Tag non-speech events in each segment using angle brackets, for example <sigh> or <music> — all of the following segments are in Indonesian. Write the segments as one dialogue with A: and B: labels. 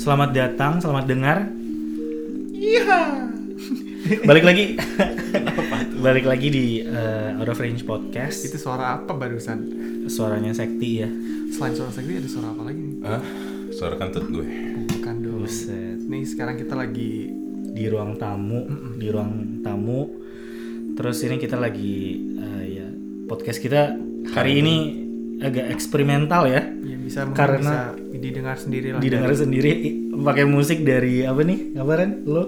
A: Selamat datang, selamat dengar. Iya. <laughs> Balik lagi. Balik lagi di eh, Out of Range Podcast.
B: Itu suara apa barusan?
A: Suaranya sekti ya.
B: Selain suara sekali ada suara apa lagi nih?
C: Hah? Suara kentut gue.
B: Bukan dong.
A: Buset.
B: Nih sekarang kita lagi
A: Di ruang tamu, di ruang tamu. Terus ini kita lagi eh, ya podcast kita hari ini agak eksperimental ya.
B: ya bisa mungkin
A: Karena-
B: bisa didengar sendiri lah.
A: Didengar sendiri i- pakai musik dari apa nih? Apa Ren? Lo?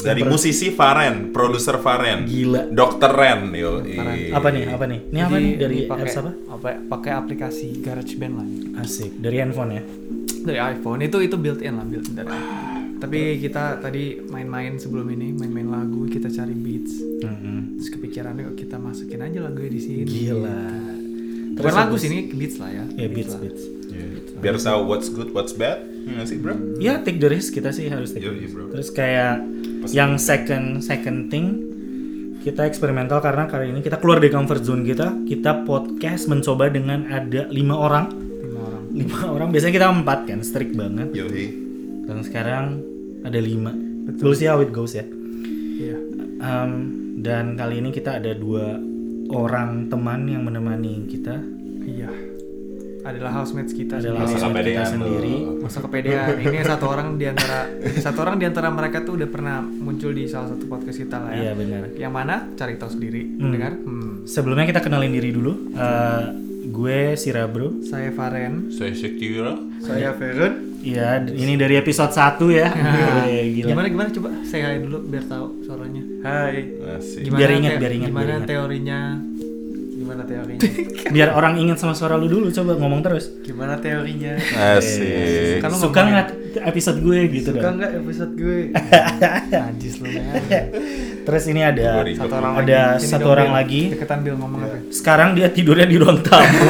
C: Dari musisi Faren, produser Faren,
A: Gila.
C: Dokter Ren, yo.
A: Apa nih? Apa nih? Ini apa
B: Jadi
A: nih dari
B: dipakai-
A: apps apa?
B: ya? Pakai aplikasi GarageBand lah.
A: Asik, dari handphone ya.
B: Dari iPhone itu itu built in lah, built in dari. iPhone. Tapi kita tadi main-main sebelum ini, main-main lagu, kita cari beats.
A: Mm-mm.
B: Terus kepikirannya kita masukin aja lagu di sini.
A: Gila.
B: Bukan lagu sih ini beats lah ya.
A: Gitu. Ya beats
B: lah.
A: beats.
C: Iya. Biar tahu what's good, what's bad. Iya nggak sih, bro?
A: Ya take the risk kita sih harus take the
C: Yoi,
A: risk.
C: bro.
A: Terus kayak yang second second thing kita eksperimental karena kali ini kita keluar dari comfort zone kita. Kita podcast mencoba dengan ada lima orang.
B: Lima orang.
A: Lima <laughs> orang biasanya kita empat kan, strict banget.
C: Yo,
A: Dan sekarang ada lima. Betul sih how it goes ya.
B: Iya.
A: Um, dan kali ini kita ada dua orang teman yang menemani kita.
B: Iya. Adalah housemates kita.
A: Adalah
B: sendiri.
A: housemate kita sendiri.
B: masa kepedean ini satu orang di antara satu orang di antara mereka tuh udah pernah muncul di salah satu podcast kita lah ya
A: Iya benar.
B: yang mana cari tahu sendiri dengar hmm.
A: Sebelumnya kita kenalin diri dulu. Eh, gue Sira Bro.
B: saya Faren
C: Saya Shakira.
B: saya Ferun
A: Iya, d- ini dari episode 1
B: <laughs>
A: ya. Iya, Gila.
B: Ah. gimana gimana coba saya hi dulu biar tahu suaranya hai
C: Asik.
B: gimana
A: Biar ingat,
B: te-
A: biar ingat,
B: gimana
A: biar ingat.
B: teorinya gimana teorinya <laughs>
A: Biar orang ingat sama suara lu dulu, coba ngomong terus.
B: gimana teorinya
C: Asik.
B: Kan lu
A: Suka
B: ngomong
A: nggak episode gue gitu dong.
B: nggak episode
A: <laughs>
B: gue najis lu ya
A: Terus ini ada
C: Sorry.
B: satu orang
A: Ada
B: lagi. Iya. Sini
A: satu
B: dong,
A: orang
B: Bil.
A: lagi.
B: deketan Bil ngomong apa
A: sekarang dia tidurnya di ruang
B: <laughs>
A: tamu.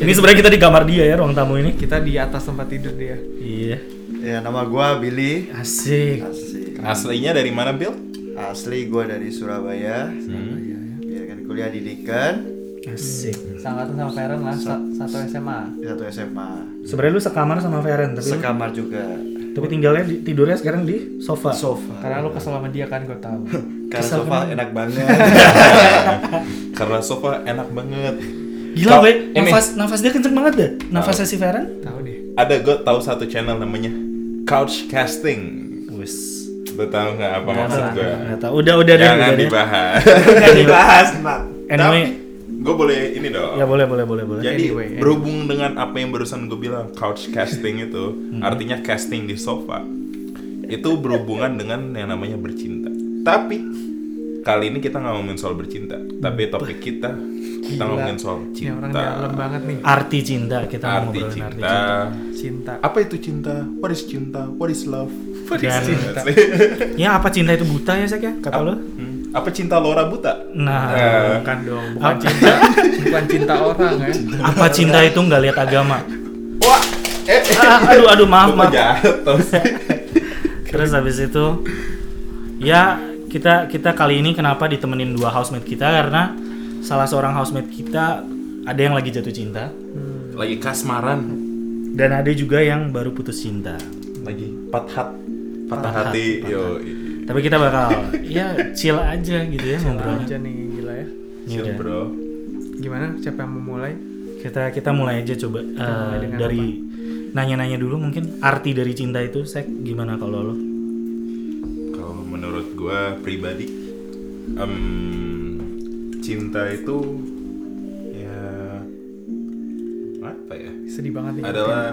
A: ini sebenarnya kita di kamar dia ya, ruang tamu ini.
B: kita di atas tempat tidur dia
A: Iya.
D: Ya nama gua Billy.
A: Asik.
D: Asli,
C: Aslinya dari mana, Bill?
D: asli gua dari Surabaya.
B: Hmm.
D: Ya kan kuliah di Diken,
A: Asik.
B: Sangkatan sama Feren lah, sa- satu SMA.
D: satu SMA.
A: Sebenarnya lu sekamar sama Feren, tapi lu-
D: Sekamar juga.
A: tapi tinggalnya di- tidurnya sekarang di sofa.
D: Sofa.
B: Karena lu kesel sama dia kan, gue tahu.
D: Karena sofa enak banget.
C: Karena sofa enak banget.
A: Gila,
C: Kau-
A: gue.
C: ini.
A: Nafas nafas dia kenceng banget deh. Nafasnya si Feren.
B: <laughs> tahu deh.
C: Ada gue tahu satu channel namanya Couch Casting.
A: Wes.
C: Lo tahu nggak apa maksud gue?
A: Nggak tahu. Udah, udah deh, udah
C: Jangan
A: deh.
C: dibahas.
D: Jangan
C: <laughs>
D: dibahas, Mak.
A: Anyway,
C: Gue boleh ini dong.
A: ya boleh, boleh, boleh, boleh.
C: Jadi
B: Anyway, anyway.
C: berhubung dengan apa yang barusan gue bilang couch casting itu
D: Hmm.
C: artinya casting di sofa itu berhubungan dengan yang namanya bercinta. Tapi kali ini kita nggak ngomongin soal bercinta, tapi topik kita kita ngomongin soal
B: Ini orang dalam
C: cinta,
B: banget nih.
A: arti cinta kita mau
C: arti
A: ngobrolin arti
C: cinta.
A: cinta
B: Cinta.
C: Apa itu cinta? What is cinta? What is love?
A: dan ya apa cinta itu buta ya Sek ya kata lo
C: Hmm. Apa cinta Laura buta?
A: nah
C: Eh,
B: Bukan dong, bukan cinta. bukan cinta orang ya.
A: apa cinta itu nggak lihat agama
C: Wah, eh, eh.
A: Ah, aduh aduh maaf
C: Gua
A: maaf
C: jatuh sih.
A: terus habis itu ya kita kita kali ini kenapa ditemenin dua housemate kita karena salah seorang housemate kita ada yang lagi jatuh cinta
C: Lagi kasmaran,
A: dan ada juga yang baru putus cinta
C: lagi pathat, patah
A: Patah
C: hati.
A: hati,
C: Yo,
A: tapi kita bakal ya chill aja gitu ya
B: Orang aja
A: ngobrolnya
B: nih gila ya.
A: Ya
C: Chill,
A: udah.
C: bro.
B: Gimana? Siapa yang mau mulai?
A: kita kita mulai aja coba eh,
B: mulai dengan
A: dari nanya-nanya dulu mungkin arti dari cinta itu sek gimana kalau lo
C: Kalau menurut gue pribadi, em, cinta itu ya apa ya?
B: Sedih banget nih.
C: Adalah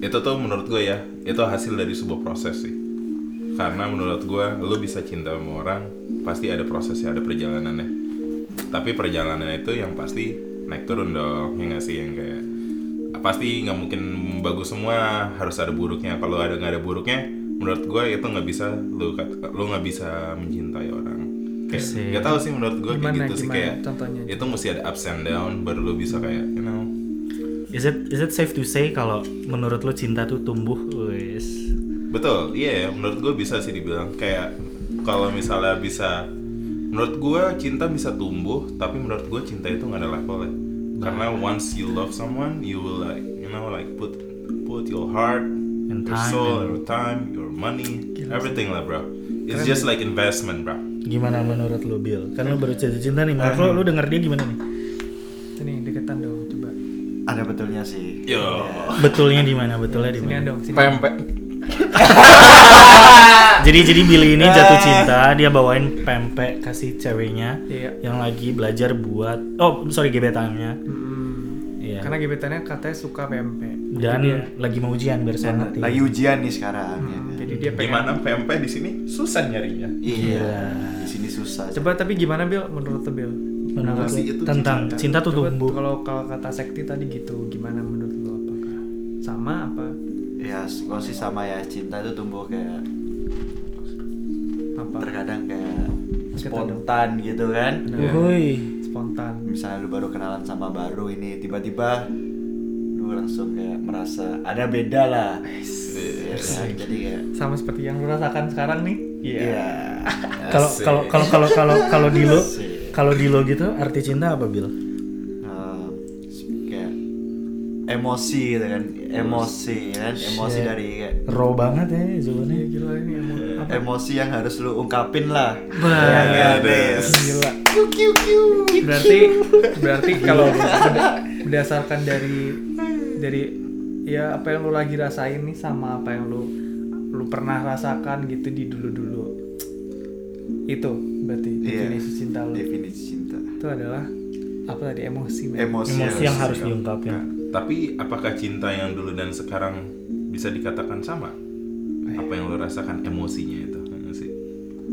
C: itu tuh menurut gue ya, itu hasil dari sebuah proses sih. Karena menurut gue, lo bisa cinta sama orang pasti ada prosesnya, ada perjalanannya. Tapi perjalanannya itu yang pasti naik turun dong, ya nggak sih yang kayak ah, pasti nggak mungkin bagus semua harus ada buruknya kalau ada nggak ada buruknya menurut gue itu nggak bisa lu kat- lu nggak bisa mencintai orang kayak
A: Asik.
C: nggak tahu sih menurut gue kayak
B: Gimana,
C: gitu sih
B: gimana?
C: kayak
B: Contohnya aja.
C: itu mesti ada ups and down baru lu bisa kayak you know
A: is it is it safe to say kalau menurut lo cinta tuh tumbuh wes
C: Betul, iya ya. Menurut gue bisa sih dibilang kayak kalau misalnya bisa, menurut gue cinta bisa tumbuh, tapi menurut gue cinta itu nggak ada levelnya. Karena once you love someone, you will like, you know, like put put your heart,
A: and
C: your
A: time
C: soul,
A: and-
C: your time, your money, everything lah bro. It's just like investment bro.
A: gimana menurut lo Bill kan lo baru cinta cinta nih menurut lo
B: Nah.
A: lo denger dia gimana nih
B: Sini deketan dong coba.
D: Ada betulnya sih.
B: Iya,
C: Yo,
A: betulnya di mana betulnya di
B: Sini
A: mana
B: dong, sini.
E: Pempek.
A: jadi jadi Billy ini jatuh
B: Eh.
A: cinta dia bawain pempek kasih ceweknya
B: Iya.
A: yang lagi belajar buat oh sorry gebetannya
B: Mm-mm.
A: iya
B: Karena gebetannya katanya suka pempek.
A: dan lagi mau ujian biar semangat ya.
D: Lagi ujian nih sekarang. ya kan?
B: Jadi dia pengen.
C: gimana PMP di sini susah nyarinya.
D: Iya. Di sini susah.
B: Coba tapi gimana Bill menurut lo Bill?
A: menurut
D: Pasti itu
A: lo tentang cinta, tuh
B: Coba
A: tumbuh
B: Kalau kalau kata sekti tadi gitu, gimana menurut lo apakah sama apa
D: Ya, gue sih sama ya. Cinta itu tumbuh kayak
B: apa
D: terkadang kayak spontan gitu kan.
A: Nah. Woi.
B: spontan?
D: Misalnya lu baru kenalan sama baru ini, tiba-tiba lu langsung kayak merasa ada beda lah. Iya kan? Jadi kayak
B: Sama seperti yang lo rasakan sekarang nih. Iya.
D: Iya.
A: kalau
C: Asik.
A: kalau kalau kalau kalau kalau di lo
D: Asik.
A: kalau di lo gitu arti cinta apa Bill
D: Eh, kayak emosi gitu kan. Emosi kan, emosi
A: Shit.
D: dari kayak
A: raw banget ya jawabannya
B: Iya, Gila ini emo apa?
D: emosi yang harus lu ungkapin lah. kan?
C: Iya,
A: ya.
C: deh.
B: Gila. Berarti berarti kalau berdasarkan dari dari ya apa yang lo lagi rasain nih sama apa yang lo lo pernah rasakan gitu di dulu-dulu. Itu berarti
D: Iya.
B: definisi cinta lo.
D: Definisi cinta.
B: Itu adalah apa tadi emosi. men.
D: Emosi,
A: emosi yang harus
D: diungkapin.
A: diungkapin
C: Tapi apakah cinta yang dulu dan sekarang bisa dikatakan sama? Apa yang lo rasakan emosinya itu? Nggak sih?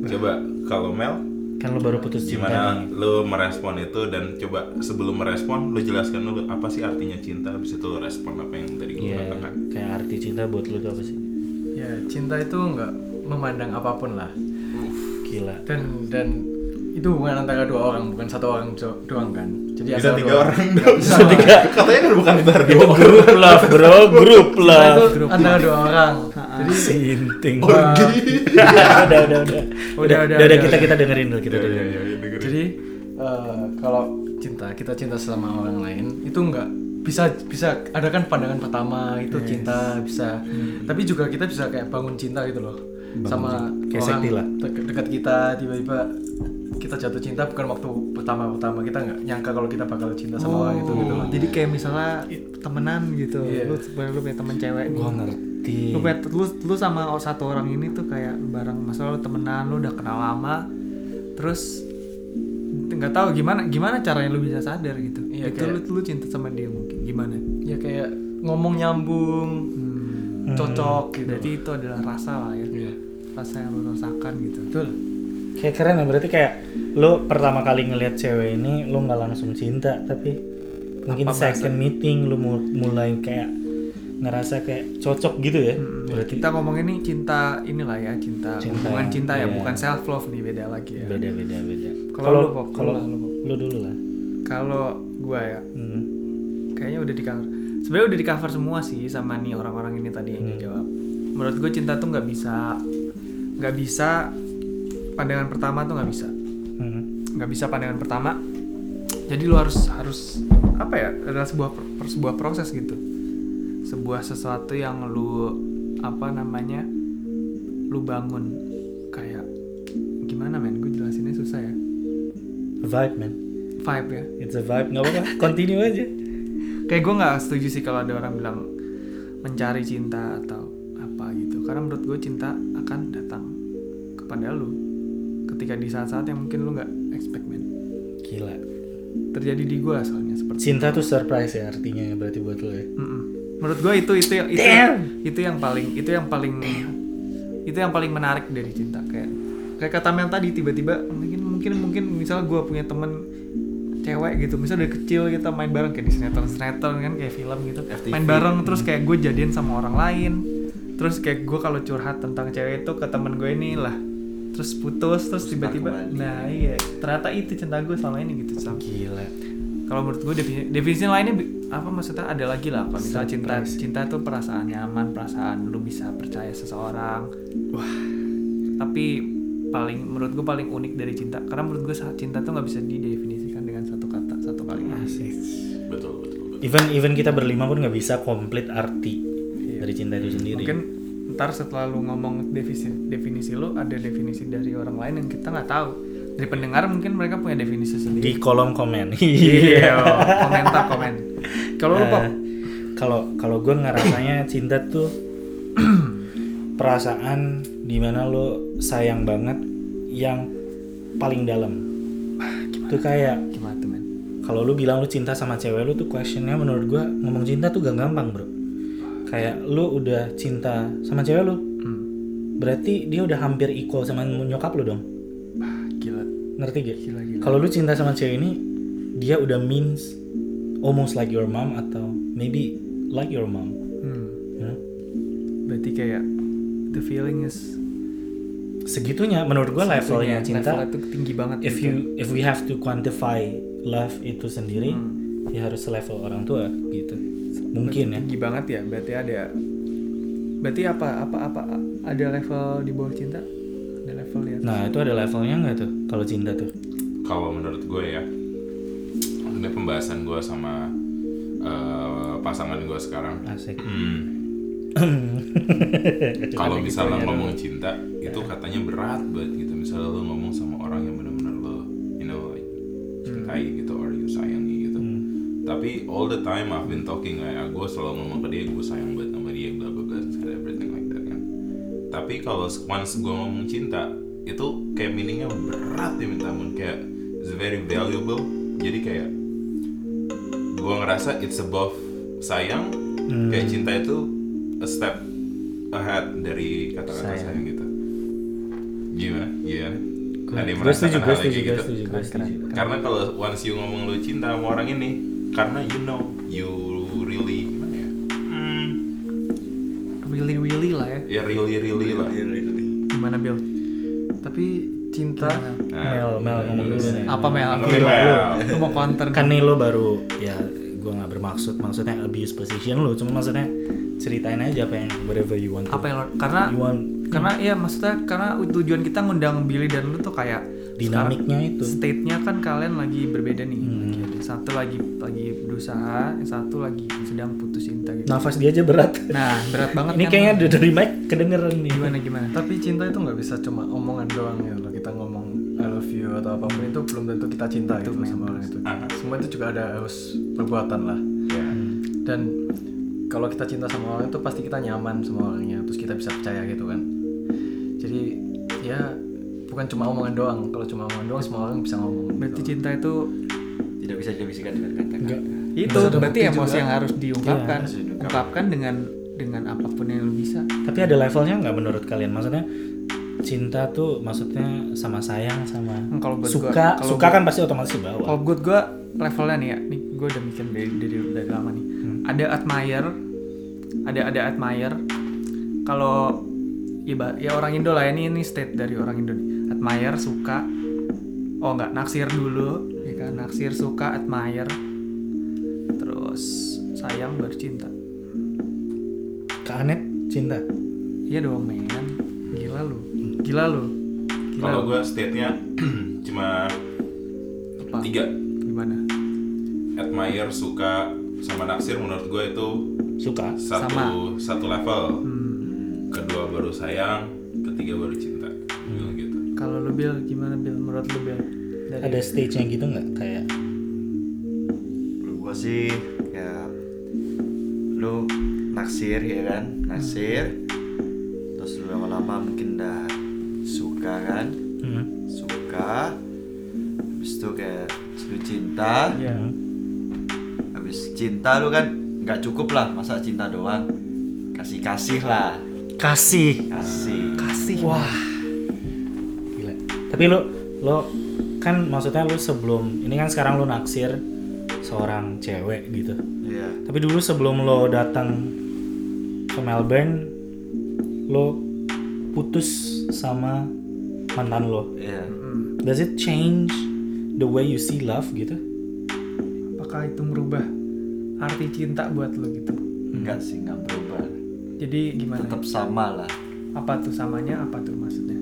C: Coba kalau Mel,
A: kan lo baru putus cinta
C: gimana lo merespon itu dan coba sebelum merespon lo jelaskan dulu apa sih artinya cinta, habis itu lo respon apa yang tadi gue
A: Iya,
C: katakan.
A: kayak arti cinta buat lu tuh apa sih?
F: Ya, cinta itu nggak memandang apapun lah.
A: Gila.
F: Dan dan itu hubungan antara dua orang, bukan satu orang do- doang kan.
A: Iya,
F: Jadi
C: Bisa
F: antara
C: tiga
F: dua
C: orang dong. <laughs> Katanya kan bukan ntar
A: Itu grup love, bro. Grup
F: Cinta itu
A: love.
F: antara dua orang. Jadi
A: Sinting. udah, udah, udah. Udah, udah, udah, kita kita dengerin dulu, kita dengerin.
F: jadi eh, kalau cinta kita cinta sama orang lain itu nggak bisa bisa ada kan pandangan pertama itu cinta bisa
A: Hmm.
F: tapi juga kita bisa kayak bangun cinta gitu loh sama
A: Kayak
F: orang
A: sekti lah.
F: dek- dekat kita tiba-tiba kita jatuh cinta bukan waktu pertama-pertama kita nggak nyangka kalau kita bakal cinta sama
A: Oh,
F: orang itu gitu loh
B: Jadi kayak misalnya temenan gitu.
F: Iya.
B: Lu sebenarnya lu punya temen cewek nih.
A: Gua ngerti.
B: Lu, punya- lu, lu sama satu orang ini tuh kayak bareng masalah lu temenan lu udah kenal lama terus nggak tahu gimana gimana caranya lu bisa sadar gitu
F: Iya,
B: itu
F: kayak-
B: lu, lu cinta sama dia mungkin gimana
F: ya kayak ngomong nyambung
A: Hmm.
F: cocok gitu
B: berarti itu adalah rasa lah ya
F: Iya.
B: rasa yang lu rasakan gitu
F: betul
A: Kayak keren ya, berarti kayak lu pertama kali ngelihat cewek ini lu nggak langsung cinta, tapi mungkin second meeting lu mu- mulai kayak ngerasa kayak cocok gitu ya.
B: Hmm,
A: Berarti
B: kita ngomongin nih cinta inilah ya cinta,
A: Cinta.
B: hubungan cinta
A: Iya.
B: ya bukan self love nih beda lagi ya
A: beda beda beda.
B: Kalau lu, Pop,
A: kalau
B: lu lah, lu, Pop.
A: lu dulu lah.
B: kalau gua ya
A: Hmm.
B: kayaknya udah di cover sebenarnya udah di cover semua sih sama nih orang-orang ini tadi yang jawab menurut gue cinta tuh nggak bisa nggak bisa pandangan pertama tuh nggak bisa
A: Hmm.
B: nggak bisa pandangan pertama jadi lu harus harus apa ya adalah sebuah per- sebuah proses gitu sebuah sesuatu yang lu apa namanya lu bangun kayak gimana men gue jelasinnya susah ya
A: Vibe man.
B: vibe ya
A: It's a vibe, nggak apa-apa. <laughs> Continue aja.
B: kayak gue nggak setuju sih kalau ada orang bilang mencari cinta atau apa gitu karena menurut gue cinta akan datang kepada lu ketika di saat-saat yang mungkin lu nggak expect man
A: Gila.
B: terjadi di gue soalnya seperti
A: Cinta tuh surprise ya artinya ya, berarti buat lo ya.
B: Mm-mm. menurut gue itu itu yang itu, itu yang paling itu yang paling itu yang paling menarik dari cinta kayak kayak kata Mel tadi tiba-tiba mungkin mungkin mungkin misal gue punya temen cewek gitu misal dari kecil kita main bareng kayak di sinetron sinetron kan kayak film gitu main bareng terus kayak gue jadian sama orang lain terus kayak gue kalau curhat tentang cewek itu ke temen gue ini lah terus putus terus tiba-tiba
D: kembali.
B: nah iya ternyata itu cinta gue selama ini gitu sama
A: Gila.
B: kalau menurut gue defini- definisi, lainnya bi- apa maksudnya ada lagi lah kalau misalnya cinta cinta tuh perasaan nyaman perasaan lu bisa percaya seseorang wah tapi paling menurut gue paling unik dari cinta karena menurut gue cinta tuh nggak bisa didefinisikan dengan satu kata satu kalimat
C: Betul betul. betul.
A: Even even kita berlima pun nggak bisa komplit arti dari cinta itu sendiri
B: Iya. mungkin ntar setelah lu ngomong definisi definisi lu ada definisi dari orang lain yang kita nggak tahu dari pendengar mungkin mereka punya definisi
A: di
B: sendiri
A: kolom komen <laughs>
B: iya komentar komen kalau lu Pop,
A: Eh, kalau kalau gue ngerasanya cinta tuh <clears throat> perasaan dimana lo sayang banget yang paling dalam itu kayak
B: gimana tuh men
A: kalau lu bilang lu cinta sama cewek lu tuh questionnya menurut gua ngomong cinta tuh gak gampang bro kayak lu udah cinta sama cewek lu
B: Hmm.
A: berarti dia udah hampir equal sama nyokap lu dong
B: Ah, gila
A: ngerti gak?
B: gila gila
A: kalau lu cinta sama cewek ini dia udah means almost like your mom atau maybe like your mom
B: Hmm,
A: you know?
B: berarti kayak the feeling is
A: segitunya menurut gua levelnya cinta
B: levelnya tuh tinggi banget
A: if
B: gitu.
A: you if we have to quantify love itu sendiri
B: Hmm.
A: ya harus level orang tua gitu mungkin ya
B: tinggi banget ya berarti ada berarti apa apa apa ada level di bawah cinta ada level ya? di atas
A: Nah, itu ada levelnya nggak tuh kalau cinta tuh?
C: kalau menurut gue ya ini pembahasan gue sama eh, pasangan gue sekarang
A: Asik.
C: Hmm. kalau misalnya ngomong cinta itu katanya berat banget gitu misalnya lo ngomong sama orang yang benar-benar lo you know like, cintai gitu or you sayangi gitu tapi all the time I've been talking kayak gue selalu ngomong ke dia gue sayang banget sama dia bla bla bla and everything like that kan tapi kalau once gue ngomong cinta itu kayak meaningnya berat ya minta ampun kayak it's very valuable jadi kayak gue ngerasa it's above sayang
A: Hmm.
C: kayak cinta itu a step ahead dari kata-kata sayang. gitu gimana gimana ada yang
A: Gue
C: merasakan
A: setuju, gue
C: hal yang kayak
A: setuju, gue
C: gitu?
A: setuju, gue setuju.
C: karena kalau once you ngomong lu cinta sama orang ini karena you know you really gimana ya hmm,
B: really really lah ya
C: ya really really lah
B: gimana Bill
F: Tapi cinta
A: Mel, Mel ngomong dulu nih.
B: apa Mel aku
C: Mel.
B: lu mau counter
A: Kan nih lo baru, ya gue nggak bermaksud, maksudnya abuse position lo, cuma maksudnya ceritain aja apa yang whatever you want. to-
B: apa yang lo- karena
A: you want
B: karena ya maksudnya karena tujuan kita ngundang Billy dan lu tuh kayak sekarang-
A: dinamiknya itu.
B: state-nya kan kalian lagi berbeda nih lagi ada satu lagi lagi berusaha yang satu lagi sedang putus cinta gitu nah,
A: Nafas dia aja berat.
B: berat banget
A: Ini
B: kan?
A: kayaknya dari- dari mic kedengeran nih.
B: gimana gimana
F: tapi cinta itu nggak bisa cuma omongan doang ya kalau kita ngomong I love you atau apapun itu belum tentu kita cinta gitu sama orang itu semua itu juga ada harus perbuatan lah
B: Iya.
F: dan kalau kita cinta sama orang itu pasti kita nyaman sama orangnya terus kita bisa percaya gitu kan jadi ya bukan cuma omongan doang kalau cuma omongan doang semua orang bisa ngomong gitu.
B: berarti cinta itu
D: Tidak bisa dibisikkan dengan kata-kata.
B: itu berarti emosi yang Iya, harus diungkapkan ungkapkan dengan dengan apapun yang lu bisa
A: Tapi ada levelnya nggak menurut kalian? Maksudnya cinta tuh maksudnya sama sayang sama
B: Hmm, kalau buat
A: suka
B: gua- kalau
A: suka kan pasti otomatis di bawah
B: kalau buat gue levelnya nih ya nih gue udah mikir dari dari, dari lama nih ada admire ada ada admire kalau ya, ba- ya orang Indo lah ya, ini ini state dari orang Indo nih. admire suka oh nggak naksir dulu ya kan naksir suka admire terus sayang baru cinta
A: ke Anet cinta
B: iya dong men gila lu gila lu gila
C: kalau
B: lu.
C: gue state nya <clears throat> cuma
B: apa
C: tiga
B: gimana
C: admire suka sama naksir menurut gue itu
A: suka
C: satu
B: Sama.
C: satu level
B: hmm.
C: kedua baru sayang ketiga baru cinta Bilang gitu
B: kalau lu bil gimana bil menurut lu bil dari
A: ada stage-nya gitu nggak kayak
D: Kalau gua sih ya lu naksir ya kan, naksir. Terus lu lama-lama mungkin udah suka kan,
A: hmm.
D: suka. Habis itu kayak lu cinta,
B: Iya.
A: Hmm.
D: habis cinta lu kan nggak cukup lah masa cinta doang kasih kasih lah
A: kasih
D: kasih
B: kasih
A: wah gila tapi lu lo kan maksudnya lu sebelum ini kan sekarang lu naksir seorang cewek gitu
D: Iya.
A: tapi dulu sebelum lo datang ke Melbourne lo putus sama mantan lo
D: Iya.
A: does it change the way you see love gitu
B: apakah itu merubah arti cinta buat lo gitu
D: nggak sih nggak berubah
B: jadi gimana
D: tetap sama lah
B: apa tuh samanya apa tuh maksudnya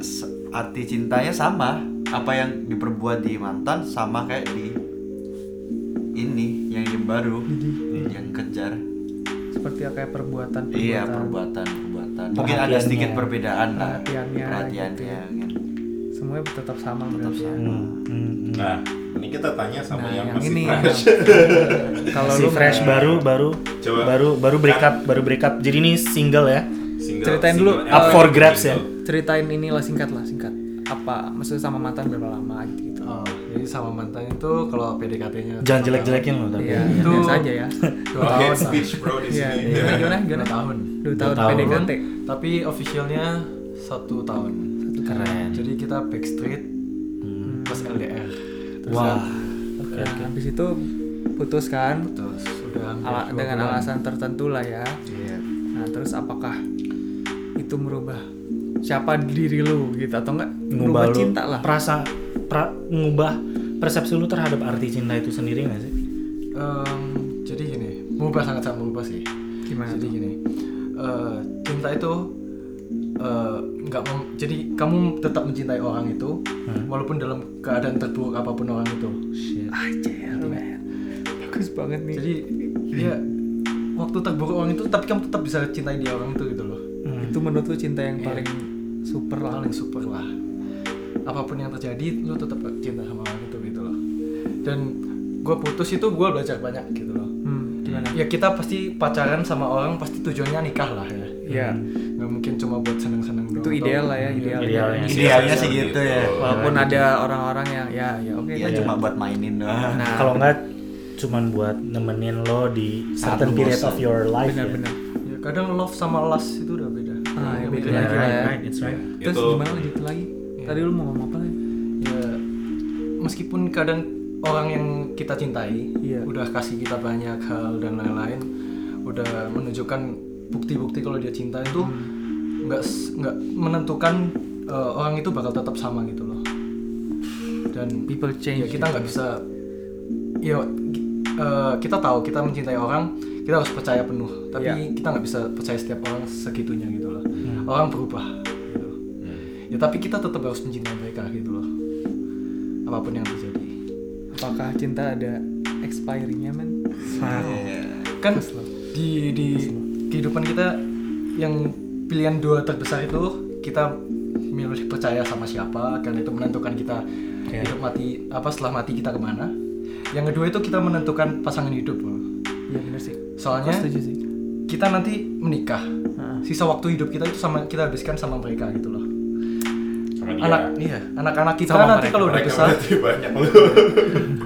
D: S- arti cintanya sama apa yang diperbuat di mantan sama kayak di ini yang, yang baru yang kejar
B: seperti kayak perbuatan
D: Iya
B: perbuatan
D: perbuatan perbuatan. Mungkin ada sedikit perbedaan lah.
B: Perhatiannya, gitu ya.
D: Perhatiannya. kan.
B: Iya, semuanya tetap sama tetap
A: Hmm, hmm.
C: Nah, ini kita tanya sama yang,
B: Nah, yang
C: masih
B: ini
C: fresh.
B: yang- <laughs> kalau
A: si
B: lu Kan?
A: fresh baru baru
C: Coba.
A: baru baru break up baru break up jadi ini single ya
C: Single-
B: Ceritain
C: single
B: dulu,
C: LP,
A: up for grabs ya
C: single.
B: ceritain inilah singkat lah singkat apa maksudnya sama mantan berapa lama gitu, -gitu.
F: Oh, jadi sama mantan itu kalau PDKT-nya
A: jangan jelek jelekin loh tapi
B: Iya,
F: Itu-
B: biasa aja ya.
F: dua
C: Oke,
F: <laughs> tahun lah.
C: speech bro di
B: <laughs> Iya,
C: sini.
B: gimana gimana
F: Dua
B: gimana?
F: tahun.
B: Dua tahun PDKT.
F: Tapi officialnya satu tahun.
B: Satu Hmm.
F: Keren. Jadi kita backstreet plus LDR. Terus
A: Wah.
F: ya,
B: Nah, habis itu putus kan
F: terus udah hampir
B: ala-
F: dua
B: dengan
F: bulan.
B: alasan tertentu lah ya.
F: Iya.
B: Nah, terus apakah itu merubah siapa diri lu gitu atau enggak
A: ngubah
B: merubah
A: lu
B: cinta lah.
A: perasa pra, ngubah persepsi lu terhadap arti cinta itu sendiri nggak sih
F: Em, jadi gini, mengubah sangat sangat mengubah sih.
B: Gimana
F: Jadi gini, eh, cinta itu eh, nggak mem- jadi kamu tetap mencintai orang itu
B: Hmm.
F: walaupun dalam keadaan terburuk apapun orang itu.
B: Anjir, men. Ah, Bagus banget nih.
F: Jadi dia waktu terburuk orang itu tapi kamu tetap bisa cintai dia orang itu gitu loh.
B: itu menurut lu cinta yang paling super lah.
F: paling super lah apapun yang terjadi lu tetap cinta sama orang itu gitu loh dan gue putus itu gue belajar banyak gitu loh
B: Hmm, gimana?
F: ya kita pasti pacaran sama orang pasti tujuannya nikah lah ya
B: Iya.
F: nggak mungkin cuma buat seneng-seneng doang
B: Itu ideal lah ya, ideal.
A: idealnya
D: Idealnya
B: iya,
D: sih gitu ya.
B: Walaupun ada orang-orang yang ya ya oke
D: Iya
B: kan.
D: cuma buat mainin doang.
B: Nah,
A: kalau nggak cuman buat nemenin lo di certain
D: Saat lu
A: period
D: bosan.
A: of your life
B: benar-benar.
F: ya kadang love sama lust itu udah beda
B: Ah, ya, beda
A: ya
B: lagi lah
A: right,
B: ya.
A: right, it's right.
B: Terus
C: Itu-
B: gimana lanjut lagi? Tadi lu mau ngomong apa lagi?
F: ya meskipun kadang orang yang kita cintai
B: Iya.
F: udah kasih kita banyak hal dan lain-lain udah menunjukkan bukti-bukti kalau dia cinta itu nggak s- nggak menentukan eh, orang itu bakal tetap sama gitu loh dan
B: People
F: ya
B: change. gitu.
F: kita nggak bisa ya ki- eh, kita tahu kita mencintai orang kita harus percaya penuh tapi
B: Iya.
F: kita nggak bisa percaya setiap orang segitunya gitu loh orang berubah gitu ya tapi kita tetap harus mencintai mereka gitu loh apapun yang terjadi
B: Apakah cinta ada expiringnya men?
F: kan di di kehidupan kita yang pilihan dua terbesar itu kita milih percaya sama siapa karena itu menentukan kita
B: Iya.
F: hidup mati apa setelah mati kita kemana yang kedua itu kita menentukan pasangan hidup loh.
B: Iya benar sih. Aku
F: soalnya
B: setuju sih.
F: kita nanti menikah sisa waktu hidup kita itu sama kita habiskan sama mereka gitu loh
C: Sama dia.
F: anak iya anak-anak kita
B: Sama
F: nanti
B: mereka.
F: kalau udah
C: Mereka
F: besar
C: berarti banyak.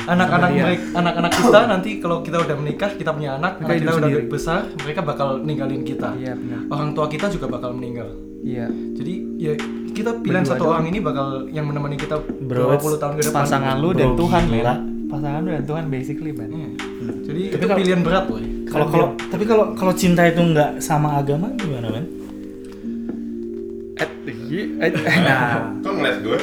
F: anak-anak mereka anak-anak kita nanti kalau kita udah menikah kita punya anak
B: Mereka
F: anak kita
B: hidup
F: udah
B: sendiri.
F: besar mereka bakal ninggalin kita
B: Iya benar.
F: orang tua kita juga bakal meninggal
B: Iya.
F: jadi ya kita pilihan satu orang ini bakal yang menemani kita
A: Bro,
F: 20 tahun ke depan
B: Pasangan lu
A: Bro,
B: dan Tuhan men.
A: gila.
B: Pasangan lu dan Tuhan basically men.
F: Iya. jadi
A: Tapi
F: itu
A: kalau-
F: pilihan berat loh
A: kalau kalau tapi kalau kalau cinta itu nggak sama agama gimana men
B: Eh, iya, eh, eh, Nah,
C: Kok ngeliat Iya. gue?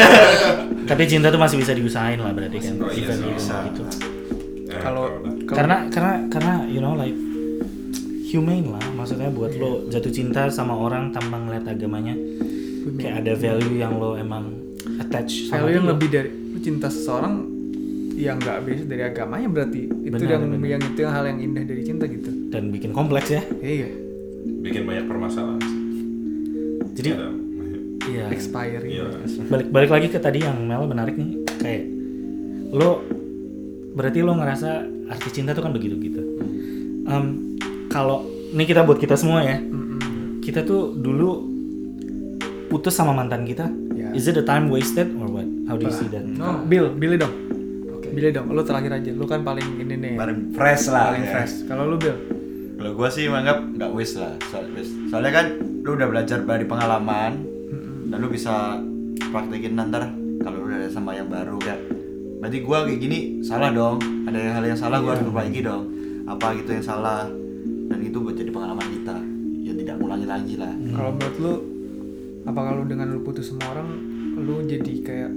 A: <laughs> tapi cinta tuh masih bisa diusahain lah berarti kan
C: Oh, iya,
A: Even
C: sih,
A: gitu-
C: bisa.
A: gitu.
C: Ya,
B: kalau
A: karena karena karena you know like humane lah maksudnya buat lo jatuh cinta sama orang tanpa ngeliat agamanya kayak ada value yang lo emang attach sama
B: value yang
A: dia.
B: lebih dari lu cinta seseorang yang nggak base dari agamanya berarti itu
A: Benar,
B: yang
A: benar.
B: yang itu yang hal yang indah dari cinta gitu.
A: dan bikin kompleks ya
B: Iya.
C: bikin banyak permasalahan.
A: jadi
C: Ada-
A: iya
B: Nah. Expiring. Nah,
C: Iya.
A: balik balik lagi ke tadi yang Mel menarik nih kayak lo berarti lo ngerasa arti cinta tuh kan begitu gitu kalau ini kita buat kita semua ya kita tuh dulu putus sama mantan kita
B: Ya. Nah.
A: is it a time wasted or what how do you see that
F: Oh.
B: No. Bill, Billy dong. Billy dong, lu terakhir aja. Lu kan paling ini nih.
D: Paling fresh lah.
B: paling
D: ya.
B: fresh. Kalau lu Bill,
D: Kalau gua sih menganggap nggak waste lah, soal waste. Soalnya kan lu udah belajar dari pengalaman, dan lu bisa praktekin nanti kalau lu ada sama yang baru kan. Berarti gua kayak gini salah dong, ada hal yang salah gua harus perbaiki dong. Apa gitu yang salah, dan itu buat jadi pengalaman kita, ya tidak ngulangi lagi lah.
B: kalau menurut lu apa kalau dengan lu putus sama orang, lu jadi kayak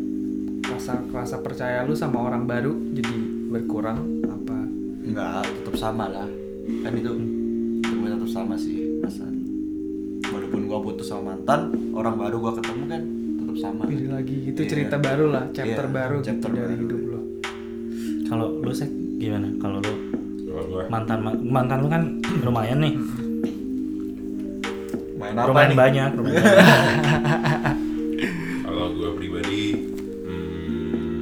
B: rasa rasa percaya lu sama orang baru jadi berkurang apa?
D: Enggak, tetap sama lah. Kan itu temen tetap sama sih, Masan. Walaupun gua putus sama mantan, orang baru gua ketemu kan tetap sama.
B: Pilih lagi gitu
D: Iya.
B: cerita baru lah, chapter
D: Iya,
B: baru
D: chapter
B: gitu dari
D: baru.
B: hidup lu.
A: kalau lo sek gimana kalau lo
C: Kalau gua
A: mantan mantan lu kan lumayan nih
D: main apa
A: lumayan
D: nih
A: banyak lumayan banyak.
C: kalau gue pribadi hmm,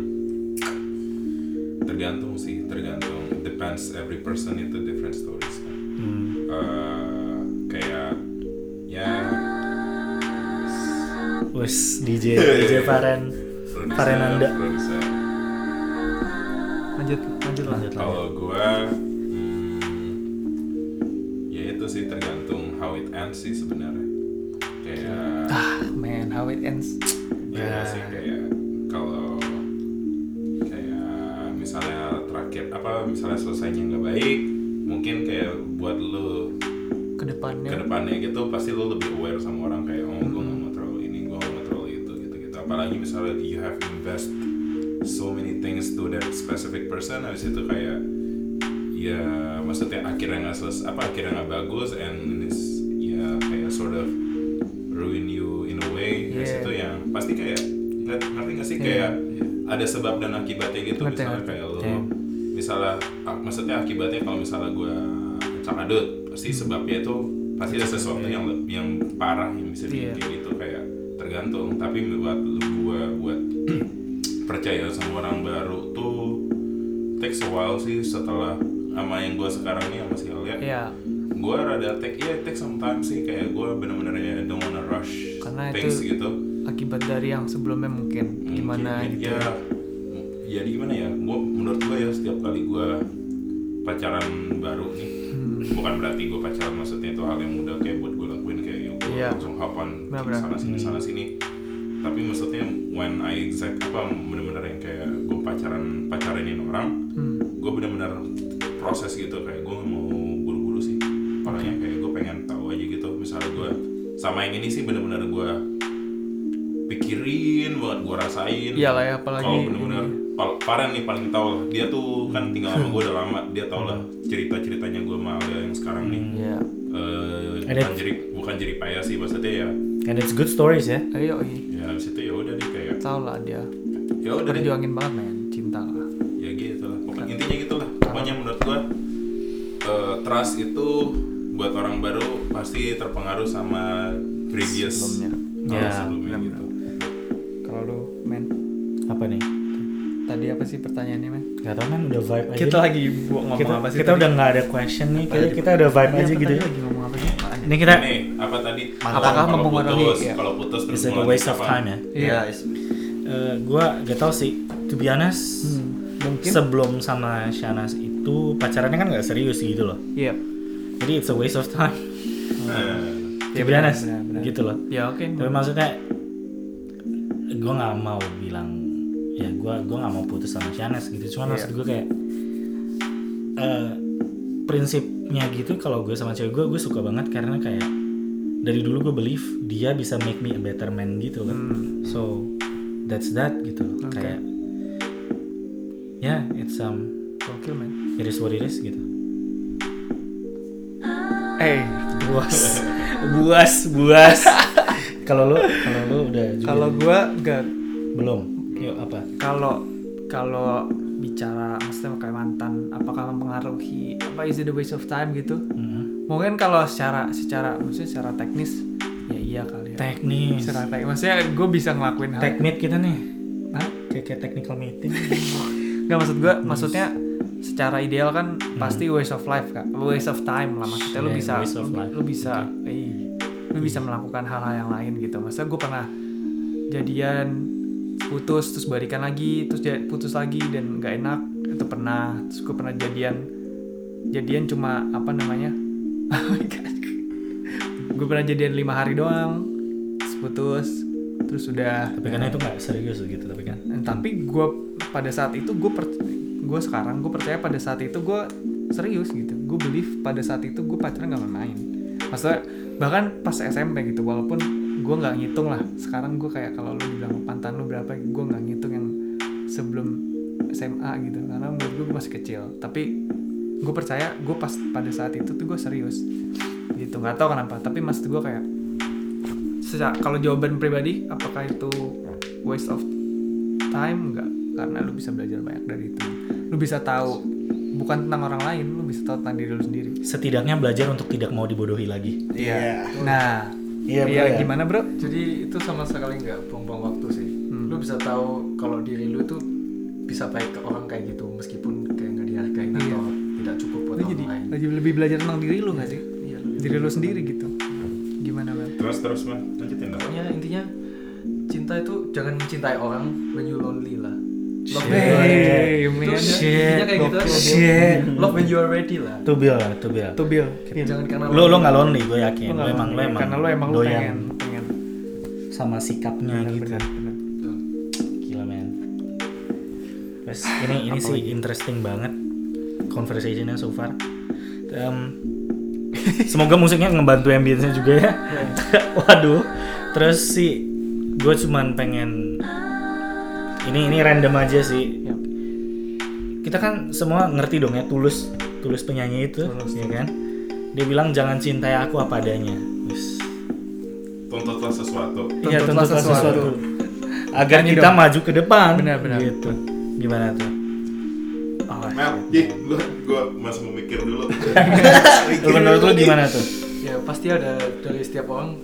C: tergantung sih tergantung depends every person itu different stories kan
A: Hmm.
C: Eh, kayak ya
A: Wes DJ DJ Faren
C: produser-
A: Farenanda.
C: produser.
B: lanjut lanjut
A: lanjut
B: lanjut
A: lanjut.
C: kalau gue hmm, ya itu sih tergantung how it ends sih sebenarnya kayak
B: Ah, man how it ends
C: Iya sih kayak kalau kayak misalnya terakhir apa misalnya selesainya nggak baik mungkin kayak buat lu
B: ke
C: ke
B: depannya
C: depannya gitu pasti lu lebih aware sama orang kayak oh gue nggak mau terlalu ini gue nggak mau terlalu itu gitu gitu apalagi misalnya you have invest so many things to that specific person habis itu kayak ya maksudnya akhirnya nggak selesai apa akhirnya nggak bagus and it's ya kayak sort of ruin you in a way habis
B: Yeah.
C: itu yang pasti kayak ngerti ngerti nggak sih kayak ada sebab dan akibatnya gitu
B: Ngerti,
C: misalnya
B: ngerti.
C: kayak lu
A: Iya.
C: misalnya ak- maksudnya akibatnya kalau misalnya gue cakadut pasti sebabnya itu pasti ada sesuatu yang le- yang parah yang bisa
B: Iya.
C: dibikin gitu kayak tergantung tapi buat lu gue buat percaya sama orang baru tuh takes a while sih setelah sama yang gue sekarang nih sama si Alia
B: ya
C: gue rada take ya take some time sih kayak gue bener-bener ya don't wanna rush
B: Karena
C: things
B: itu-
C: gitu
B: akibat dari yang sebelumnya mungkin gimana
C: Mungkin,
B: gitu
C: ya jadi gimana ya gua menurut gue ya setiap kali gue pacaran baru nih
B: Hmm.
C: bukan berarti gue pacaran maksudnya itu hal yang mudah kayak buat gue lakuin kayak gue
B: Iya.
C: langsung hapan
B: Benar, Hmm. benar.
C: sana sini sana sini tapi maksudnya when I exact apa bener-bener yang kayak gue pacaran pacarinin orang
B: Hmm.
C: gue benar-benar proses gitu kayak gue mau buru-buru sih orangnya kayak gue pengen tahu aja gitu misalnya gue sama yang ini sih benar-benar gue pikirin banget gue rasain
B: Iyalah ya, apalagi
C: kalau benar-benar Pal- Farhan nih paling tahu lah dia tuh
B: Hmm.
C: kan tinggal sama gue udah lama dia tau lah cerita ceritanya gue sama Alia yang sekarang nih
B: ya
C: Eh,
A: Ada-
C: bukan jerih bukan jerih payah sih maksudnya ya
A: and it's good stories ya
B: ayo
C: ya habis itu ya udah deh
B: Eh,
C: kayak
B: tau lah dia
C: ya udah deh
B: perjuangin banget men cinta lah
C: ya gitu lah pokoknya
B: Nah.
C: intinya gitulah pokoknya menurut gua eh, trust itu buat orang baru pasti terpengaruh sama previous
B: Sebelumnya. Iya,
C: Oh,
A: Ya,
C: sebelumnya gitu
B: kalau lu men
A: apa nih
B: tadi apa sih pertanyaannya men
A: nggak tau kan udah vibe aja
B: kita
A: nih.
B: lagi bu- ngomong
A: kita,
B: apa sih
A: kita udah nggak ada question nih kayaknya kita udah vibe aja gitu ya
B: Iya, lagi ngomong apa sih
A: ini kita
C: Ini, apa tadi
D: Mantan.
B: Nah, Apakah
C: kalau
B: mempengaruhi,
C: putus
B: ya?
C: kalau putus terus
A: it's like a
C: mau
A: waste
C: lanjut
A: of
C: apa?
A: time ya
D: Iya, is-
A: Eh, gua gak tau sih to be honest
B: mungkin
A: sebelum sama Shanas itu pacarannya kan nggak serius gitu loh
B: iya
A: jadi it's a waste of time
C: Eh,
A: to
B: Ya,
A: be
B: benar,
A: honest
B: benar, benar.
A: gitu loh
B: ya oke
A: tapi maksudnya gue nggak mau bilang ya gue gua nggak mau putus sama Shanes gitu cuman maksud gue kayak eh, prinsipnya gitu kalau gue sama cewek gue gue suka banget karena kayak dari dulu gue believe dia bisa make me a better man gitu kan so that's that gitu loh
B: Oke.
A: kayak ya it's um
B: oke men
A: it is what it is gitu
B: eh
A: buas <laughs> buas buas kalau lu kalau lu udah juga
B: kalau gua enggak
A: belum yuk apa
B: kalau kalau bicara maksudnya kayak mantan apakah mempengaruhi apa is it a waste of time gitu
A: Mhm.
B: mungkin kalau secara secara maksudnya secara teknis ya iya kali ya
A: teknis
B: secara teknis maksudnya gue bisa ngelakuin hal
A: tech meet kita nih
B: Hah?
A: kayak kayak technical meeting
B: nggak maksud gue
A: Hmm.
B: maksudnya secara ideal kan pasti waste of life kak waste of time lah maksudnya lu
A: Yeah,
B: bisa
A: waste of
B: lu-
A: life. Iya.
B: lu bisa ih, lu bisa melakukan hal-hal yang lain gitu maksudnya gue pernah jadian putus terus balikan lagi terus ja- putus lagi dan nggak enak itu pernah terus gue pernah jadian jadian cuma apa namanya <laughs> gue pernah jadian lima hari doang terus putus terus udah
A: tapi karena itu nggak serius gitu tapi kan
B: Nah, tapi gue pada saat itu gue gue sekarang gue percaya pada saat itu gue serius gitu gue believe pada saat itu gue pacaran nggak main maksudnya bahkan pas SMP gitu walaupun gue nggak ngitung lah sekarang gue kayak kalau lu bilang pantan lu berapa gue nggak ngitung yang sebelum SMA gitu karena menurut gue masih kecil tapi gue percaya gue pas pada saat itu tuh gue serius gitu nggak tahu kenapa tapi maksud gue kayak secara kalau jawaban pribadi apakah itu waste of time nggak karena lu bisa belajar banyak dari itu lu bisa tahu bukan tentang orang lain lu bisa tahu tentang diri lu sendiri
A: setidaknya belajar untuk tidak mau dibodohi lagi
D: Iya.
B: nah
A: Ya. Iya, bro,
B: iya,
A: ya.
B: gimana bro
F: Jadi itu sama sekali nggak buang-buang waktu sih.
B: Hmm.
F: Lu bisa tahu kalau diri lu itu bisa baik ke orang kayak gitu meskipun kayak nggak
B: Iya.
F: dihargain atau tidak cukup buat
B: lu
F: orang
B: jadi
F: lain.
B: lebih, lebih belajar tentang diri lu nggak sih
F: Iya,
B: diri lu sendiri gitu gimana bang
C: Terus terus man, lanjutin dong.
F: Pokoknya intinya cinta itu jangan mencintai orang when you lonely lah.
A: Shit.
F: Love when you are ready.
B: Hey,
F: Itu
B: man.
A: Shit.
F: intinya kayak gitu.
A: Shit. Iya.
F: Love when you are ready lah.
A: tuh bil lah tuh bil
B: tuh Bill
F: Jangan karena
A: lo lo nggak lonely gue yakin lo
B: Lu nggak
A: emang lo
B: mau,
A: emang
B: karena lu emang lu
A: doyan Gitu.
B: pengen pengen
A: sama sikapnya gitu
B: benar benar
A: gila men Terus ini ini sih interesting banget conversationnya so far Em, semoga musiknya ngebantu ambience-nya juga ya <laughs> waduh terus sih gue cuman pengen ini ini random aja sih
B: Yap.
A: kita kan semua ngerti dong ya tulus tulus penyanyi itu ya kan dia bilang jangan cintai aku apa adanya Wis.
C: Tuntutlah sesuatu.
A: Iya
B: Tuntutlah
A: tuntutlah sesuatu.
B: sesuatu.
A: Agar
B: Nyanyi
A: kita
B: dong.
A: maju ke depan.
B: Benar-benar.
A: Gitu. Gimana tuh? Oh,
C: Mel, ih, gua, gua masih mau mikir dulu.
A: <laughs> shit. Lu menurut lu gimana tuh?
F: ya pasti ada dari setiap orang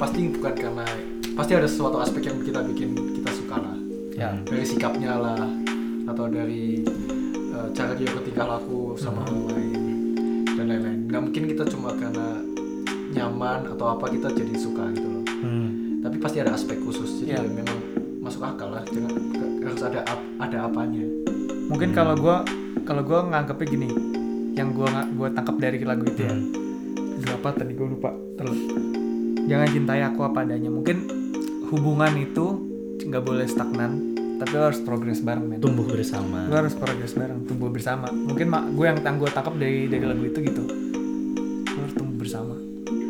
F: pasti bukan karena pasti ada sesuatu aspek yang kita bikin kita suka lah
A: Ya.
F: dari sikapnya lah atau dari eh, cara dia bertingkah laku sama
A: Hmm.
F: orang lain dan lain-lain nggak mungkin kita cuma karena nyaman atau apa kita jadi suka gitu loh
A: Hmm.
F: tapi pasti ada aspek khusus jadi ya memang masuk akal lah jangan harus ada ap- ada apanya
B: mungkin kalau gua kalau gua nganggepnya gini yang gua nga- gua tangkap dari lagu itu ya berapa tadi gua lupa terus jangan cintai aku apa adanya mungkin hubungan itu nggak boleh stagnan tapi lo harus progres bareng men
A: Tumbuh bersama.
B: lo harus progres bareng tumbuh bersama mungkin mak gue yang tang gue tangkap dari dari lagu itu gitu lo harus tumbuh bersama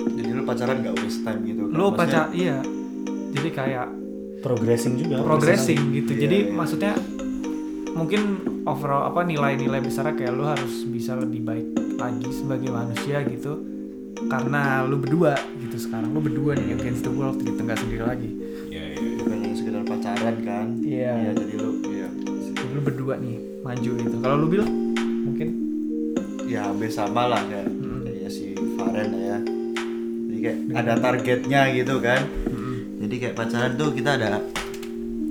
D: Jadi lu pacaran gak waste time gitu.
B: lo
D: Maksudnya,
B: pacar iya jadi kayak
A: Progressing juga.
B: progressing gitu.
D: Iya,
B: Jadi
D: iya.
B: maksudnya mungkin overall apa nilai-nilai besarnya kayak lu harus bisa lebih baik lagi sebagai manusia gitu. Karena lu berdua gitu sekarang lu berdua nih against the world gitu nggak sendiri lagi.
C: Iya, iya.
D: Bukan yang sekedar pacaran kan.
B: Iya.
D: Iya jadi lu iya.
B: Lu berdua nih maju gitu. Kalau lu bilang mungkin
D: Ya hampir sama lah kan.
B: Mm-mm.
D: Kayaknya si Faren lah ya. Jadi kayak
B: Hmm.
D: ada targetnya gitu kan. Jadi kayak pacaran tuh kita ada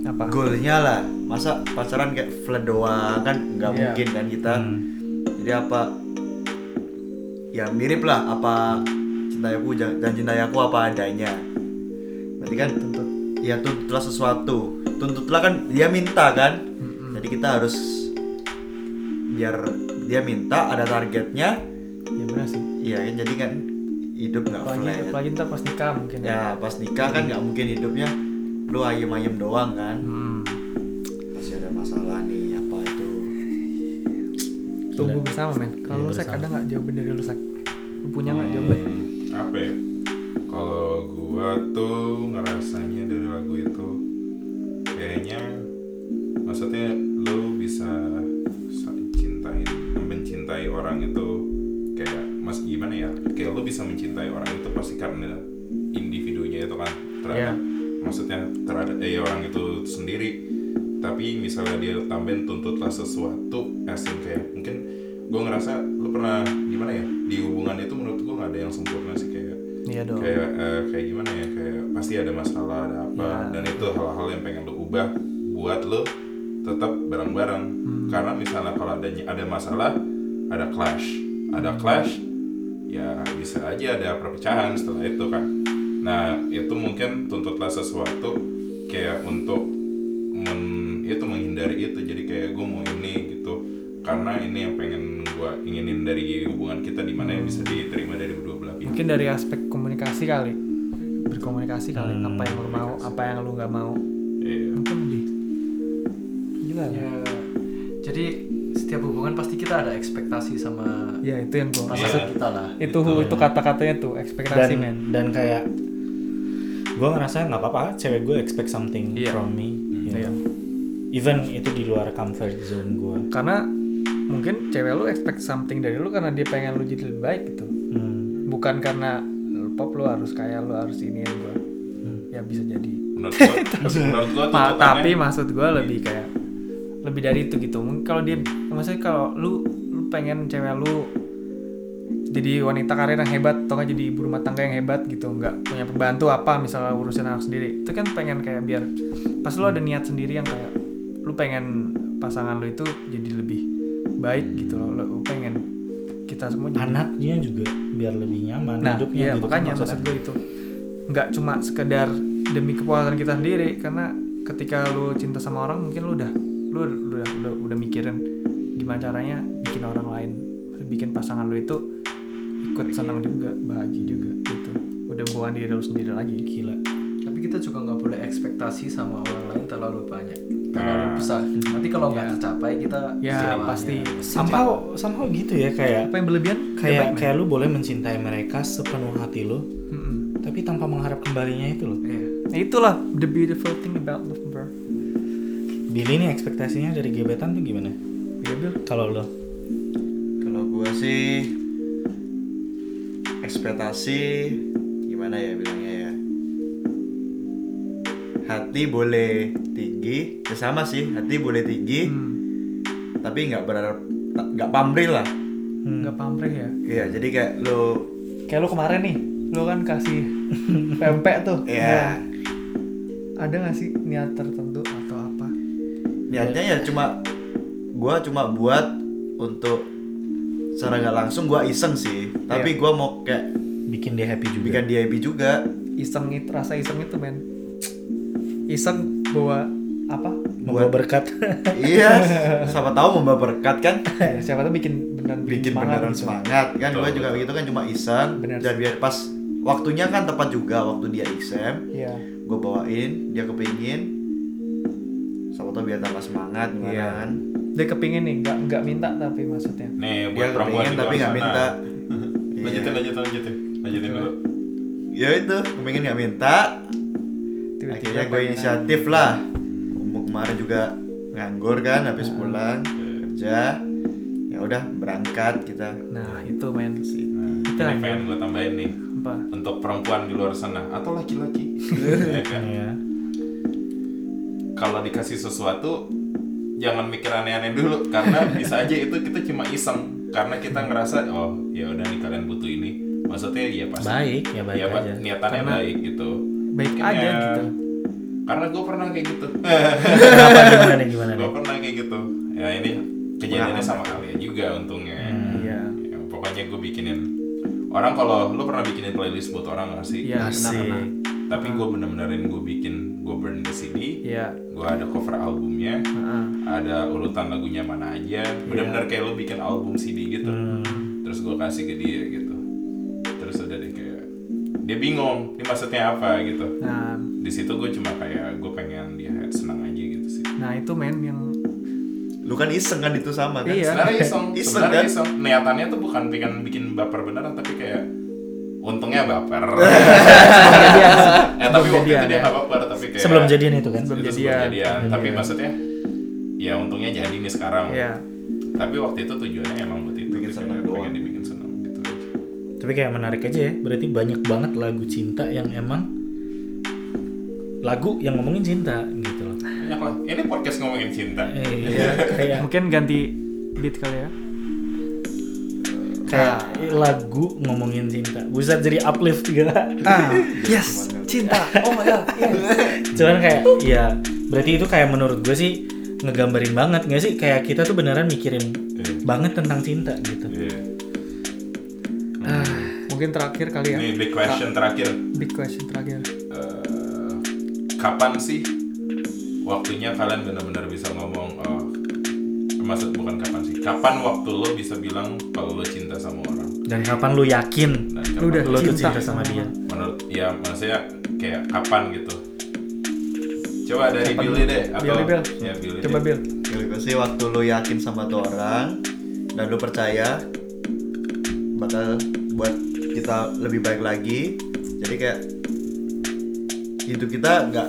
B: apa?
D: goalnya lah. Masa pacaran kayak flat doang kan nggak
B: Iya.
D: mungkin kan kita. Jadi apa ya mirip lah apa cintai aku jangan jangan cintai aku apa adanya. Berarti kan
B: Tuntut.
D: ya tuntutlah sesuatu tuntutlah kan dia minta kan
B: Hmm.
D: jadi kita harus biar dia minta ada targetnya
B: Ya benar sih.
D: iya kan jadi kan hidup nggak
B: Apalagi
D: flat
B: apalagi ntar pas nikah mungkin ya.
D: ya pas nikah kan nggak mungkin hidupnya lu ayem ayem doang kan
B: Hmm.
D: pasti ada masalah nih apa itu
B: Tunggu Iya. bersama Iya. men. Kalau lu sek ada nggak jawaban dari lu sek? Lu punya nggak jawaban?
C: Hmm, apa ya? Kalau gua tuh ngerasanya dari lagu itu kayaknya maksudnya lu bisa sa- cintain mencintai orang itu kayak mas gimana ya kayak lu bisa mencintai orang itu pasti karena individunya itu kan terhadap maksudnya terhadap eh, orang itu sendiri tapi misalnya dia tambahin tuntutlah sesuatu as in kayak mungkin gue ngerasa lu pernah gimana ya di hubungan itu menurut gue nggak ada yang sempurna sih kayak
B: Iya dong.
C: kayak eh, kayak gimana ya kayak pasti ada masalah ada apa dan itu hal-hal yang pengen lu ubah buat lu tetap bareng-bareng karena misalnya kalau ada ada masalah ada clash ada clash ya bisa aja ada perpecahan setelah itu kan nah itu mungkin tuntutlah sesuatu kayak untuk men- itu menghindari itu jadi kayak gue mau ini gitu karena ini yang pengen gue inginin dari hubungan kita di mana yang bisa diterima dari kedua belah pihak
B: mungkin dari aspek komunikasi kali berkomunikasi kali apa yang lu mau apa yang lu nggak mau
C: Iya.
B: mungkin lebih gila ya,
F: ya jadi setiap hubungan pasti kita ada ekspektasi sama
B: ya itu yang gua
F: masa
C: Iya.
F: kita lah
B: itu itu kata-katanya tuh ekspektasi
A: dan
B: men
A: dan kayak gue ngerasa nggak apa-apa cewek gue expect something
F: Iya.
A: from me you
B: Iya.
A: know. even itu di luar comfort zone gue
B: karena mungkin cewek lu expect something dari lu karena dia pengen lu jadi lebih baik gitu
A: Hmm,
B: bukan karena lu pop lu harus kaya lu harus ini yang gua ya bisa jadi
C: Menurut gua, Iya. menurut gua
B: Ma-
C: tuntutannya-
B: tapi maksud gua lebih kayak lu lebih dari itu gitu mungkin kalau dia maksudnya kalau lu lu pengen cewek lu jadi wanita karir yang hebat atau nggak jadi ibu rumah tangga yang hebat gitu nggak punya pembantu apa misalnya urusin anak sendiri itu kan pengen kayak biar pas lu ada niat sendiri yang kayak lu pengen pasangan lu itu jadi lebih baik gitu loh lu pengen kita semua jadi
A: anaknya juga biar lebih nyaman
B: nah
A: hidupnya
B: iya
A: gitu kan
B: makanya
A: maksudnya.
B: maksud gue itu nggak cuma sekedar demi kepuasan kita sendiri karena ketika lu cinta sama orang mungkin lu udah lu udah udah, udah mikirin gimana caranya bikin orang lain bikin pasangan lu itu ikut senang juga bahagia juga gitu udah bukan diri lu sendiri lagi gila
F: tapi kita juga nggak boleh ekspektasi sama orang lain terlalu banyak terlalu besar nanti kalau nggak tercapai kita
B: ya
F: kecewa. iya.
B: pasti
A: somehow somehow gitu ya kayak
B: apa yang berlebihan
A: iya. kayak kayak lu boleh mencintai mereka sepenuh hati lu
B: Mm-mm.
A: tapi tanpa mengharap kembalinya itu loh
B: Iya. Nah, itulah the beautiful thing about love bro
A: Billy nih ekspektasinya dari gebetan tuh gimana Ya,
B: Iya, Bil.
A: kalau lo
D: Kalau gua sih ekspektasi gimana ya bilangnya ya. Hati boleh tinggi, ya sama sih. Hati boleh tinggi,
B: Hmm,
D: tapi nggak berharap nggak pamrih lah.
A: Hmm.
B: nggak pamrih ya
D: Iya, jadi kayak lo
B: kayak lu kemarin nih lu kan kasih pempek tuh Nah,
D: ya
B: ada nggak sih niat tertentu atau apa
D: niatnya ya cuma gua cuma buat untuk secara nggak langsung gua iseng sih, tapi
B: Iya.
D: gua mau kayak
A: bikin dia happy juga
D: bikin dia happy
B: <laughs>
D: juga.
B: iseng itu rasa iseng itu men iseng bawa
D: <laughs>
B: apa
A: membawa berkat <laughs>
D: iya, siapa tahu membawa berkat kan?
B: Ya, siapa tuh bikin beneran
D: bikin
B: semangat
D: beneran
B: gitu.
D: semangat kan
C: Betul,
D: gue juga
C: betul.
D: begitu kan cuma iseng
B: Bener.
D: dan biar pas waktunya kan tepat juga waktu dia exam
B: Iya.
D: gue bawain dia kepingin sama tuh biar tambah semangat gimana
B: Iya.
D: kan
B: dia kepingin nih nggak nggak minta tapi maksudnya
C: Nih,
D: dia
C: buat perempuan
D: kepingin
C: juga
D: iya, tapi
C: harus
D: nggak minta Iya.
C: menang. <laughs> Lanjutin, lanjutin, lanjutin. Lanjutin dulu.
D: ya itu kepingin nggak minta akhirnya gue
B: pengen-
D: inisiatif lah Umur kemarin juga nganggur kan habis pulang kerja ya udah berangkat kita
B: nah itu men
C: Nah, ini pengen gue tambahin nih
B: apa
C: untuk perempuan di luar sana atau laki-laki. Ya kan?
A: ya
C: Kalau dikasih sesuatu jangan mikir aneh-aneh dulu karena bisa aja itu kita cuma iseng karena kita ngerasa oh ya udah nih kalian butuh ini. Maksudnya ya pasti
A: baik ya baik
C: ya, Pak,
A: aja
C: niatannya baik gitu.
B: baik
C: Mungkin
B: aja
C: ya,
A: <laughs>
B: gitu
C: Karena gue pernah kayak gitu. <laughs>
A: Kenapa? gimana nih gimana
C: gue
A: nih
C: pernah kayak gitu. Ya ini kejadiannya sama kalian juga untungnya.
B: iya
C: Ya, pokoknya gue bikinin orang kalau lu pernah bikinin playlist buat orang nggak sih?
B: iya benar
A: Asik.
B: benar
C: Tapi gue bener-benerin gue bikin gue burn the CD,
B: iya Nah,
C: gue ada cover albumnya,
B: Heeh.
C: ada urutan lagunya mana aja,
B: Iya.
C: bener-bener kayak lu bikin album CD gitu.
B: Hmm.
C: Terus gue kasih ke dia gitu. Terus udah deh kayak dia bingung, ini maksudnya apa gitu.
B: nah
C: Di situ gue cuma kayak gue pengen dia senang aja gitu sih.
B: nah itu men
D: <laughs>
B: yang
D: lu kan iseng kan itu sama kan
B: Iya.
C: sebenarnya iseng
D: Iseng,
C: sebenarnya
D: kan?
C: iseng niatannya tuh bukan pengen bikin baper beneran tapi kayak untungnya baper eh tapi
B: Sebelum
C: waktu itu
B: jadian,
C: dia
B: ya.
C: nggak baper tapi kayak
A: sebelum jadian itu kan
B: Sebelum
C: itu sebelum
B: jadian.
C: jadian. tapi maksudnya ya untungnya jadi nih sekarang
B: Iya.
C: tapi waktu itu tujuannya emang buat itu
D: Bikin
C: kayak
D: seneng
C: pengen
D: doang.
C: dibikin seneng gitu aja.
A: tapi kayak menarik aja ya berarti banyak banget lagu cinta yang emang lagu yang ngomongin cinta gitu loh
C: banyak lah ini podcast ngomongin cinta
A: Eh, iya kayak
B: mungkin ganti beat kali ya
A: kayak lagu ngomongin cinta buset jadi uplift gitu. gila
B: Ah, yes cinta oh my god
A: <laughs> cuman kayak ya berarti itu kayak menurut gue sih ngegambarin banget nggak sih kayak kita tuh beneran mikirin
C: Iya.
A: banget tentang cinta gitu
C: Iya.
B: mungkin terakhir kali ya
C: ini big question terakhir
B: big question terakhir
C: Eh, kapan sih waktunya kalian benar-benar bisa ngomong oh, maksud bukan kapan sih kapan waktu lo bisa bilang kalau lo cinta sama orang
A: dan kapan lu yakin
C: dan
B: lu udah
C: kapan
A: lu tuh
B: cinta,
A: cinta sama dia
C: menurut ya maksudnya kayak kapan gitu coba dari
B: Kapan?
C: Billy deh atau
B: Billy, Iya, Bill. Iya.
C: ya Billy
B: coba
C: deh.
B: Bill
D: Kalau gue sih waktu lu yakin sama tuh orang dan lu percaya bakal buat kita lebih baik lagi. Jadi kayak hidup kita nggak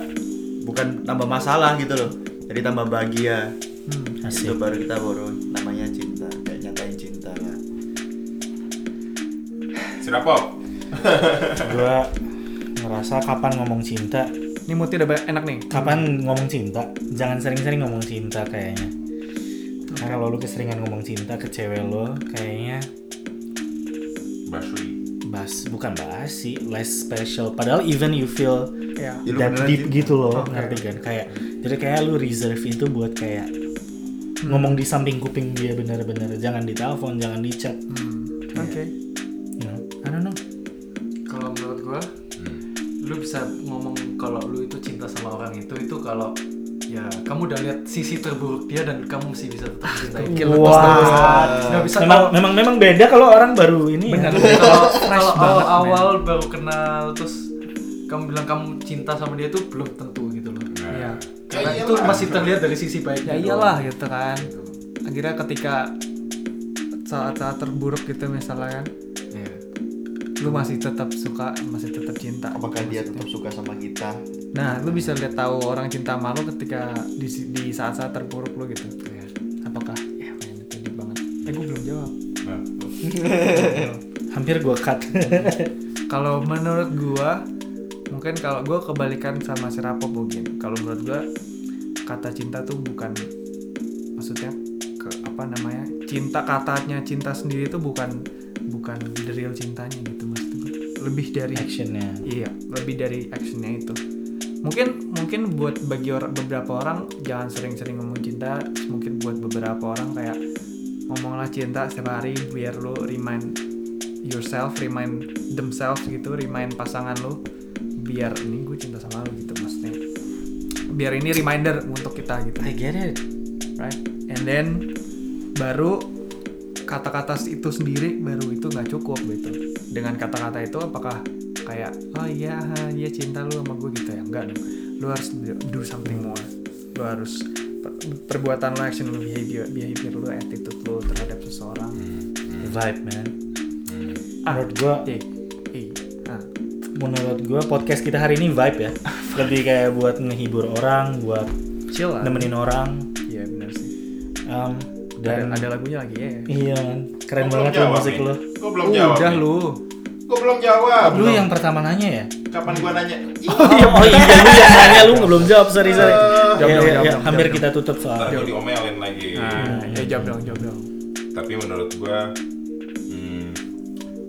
D: bukan tambah masalah gitu loh. Jadi tambah bahagia. Itu
A: asik
D: baru kita baru namanya cinta, kayak nyatain cinta lah.
C: Sirapok.
A: gue ngerasa kapan ngomong cinta
B: ini muti udah ba- enak nih
A: kapan ngomong cinta jangan sering-sering ngomong cinta kayaknya Nah, kalau lu keseringan ngomong cinta ke cewek lo, kayaknya
C: Basri.
A: bas bukan basi, less special. Padahal even you feel
B: ya
D: Ya, lu
A: that
D: beneran
A: deep
D: cinta.
A: gitu loh,
B: Oke.
A: ngerti kan? Kayak jadi kayak lu reserve itu buat kayak ngomong di samping kuping dia bener-bener jangan ditelepon, jangan dicat.
B: oke
A: You know? I don't know.
F: kalau menurut gua lu bisa ngomong kalau lu itu cinta sama orang itu itu kalau ya kamu udah lihat sisi terburuk dia dan kamu masih bisa tetap mencintai nggak bisa
A: Memang
F: kalau-
A: memang memang beda kalau orang baru ini.
F: Bener.
A: Ya.
B: Iya.
F: Kalau kalau awal-awal baru kenal terus kamu bilang kamu cinta sama dia itu belum tentu gitu loh.
B: ya
F: Karena itu masih terlihat dari sisi baiknya.
B: ya iyalah gitu kan akhirnya ketika saat-saat terburuk gitu misalnya kan
F: Iya.
B: lu masih tetap suka masih tetap cinta
D: apakah dia tetap suka sama kita
B: nah lu bisa lihat tahu orang cinta sama lu ketika di di saat-saat terburuk lu gitu apakah ya men, itu deep banget eh gue belum jawab
C: Nah,
A: Hampir gua <laughs> cut.
B: kalau menurut gua mungkin kalau gua kebalikan sama si Rapo mungkin kalau menurut gua kata cinta tuh bukan maksudnya ke apa namanya cinta katanya cinta sendiri itu bukan bukan the real cintanya gitu maksud gua lebih dari
A: Actionnya.
B: iya lebih dari actionnya itu mungkin mungkin buat bagi orang beberapa orang jangan sering-sering ngomong cinta mungkin buat beberapa orang kayak ngomonglah cinta setiap hari biar lo remind yourself remind themselves gitu remind pasangan lo biar ini gue cinta sama lo gitu maksudnya biar ini reminder untuk kita gitu
A: I get it.
B: right? And then baru kata-kata itu sendiri baru itu nggak cukup gitu. Dengan kata-kata itu apakah kayak oh iya ha, iya cinta lu sama gue gitu ya? Enggak dong. Lu harus do something more. Lu harus per- perbuatan lu, action lu, behavior, behavior lu, attitude lu terhadap seseorang.
A: The vibe, man.
B: Ah.
A: Menurut gua
B: Eh, eh, ah,
A: menurut gua podcast kita hari ini vibe <laughs> ya. Lebih kayak buat ngehibur orang, buat
B: chill lah.
A: nemenin orang.
B: Iya benar sih.
A: Um, dan
B: Dan ada lagunya lagi ya.
A: iya, man. keren
C: Kok
A: banget lo
C: belum jawab
A: musik
C: nih?
A: lo.
C: Kok belum jawab?
B: Udah
C: nih?
B: lu.
C: Kok belum jawab?
A: Lu yang pertama nanya ya?
C: Kapan gua nanya?
A: Oh iya, oh, iya. lu yang nanya lu belum jawab, sorry sorry. Iya,
B: Jawab dong,
A: iya,
B: jawab
A: iya.
B: dong,
A: hampir
B: jawab
A: kita tutup soal.
C: Ntar gua diomelin lagi.
B: Nah, ya jawab dong, jawab dong.
C: Tapi menurut gua hmm,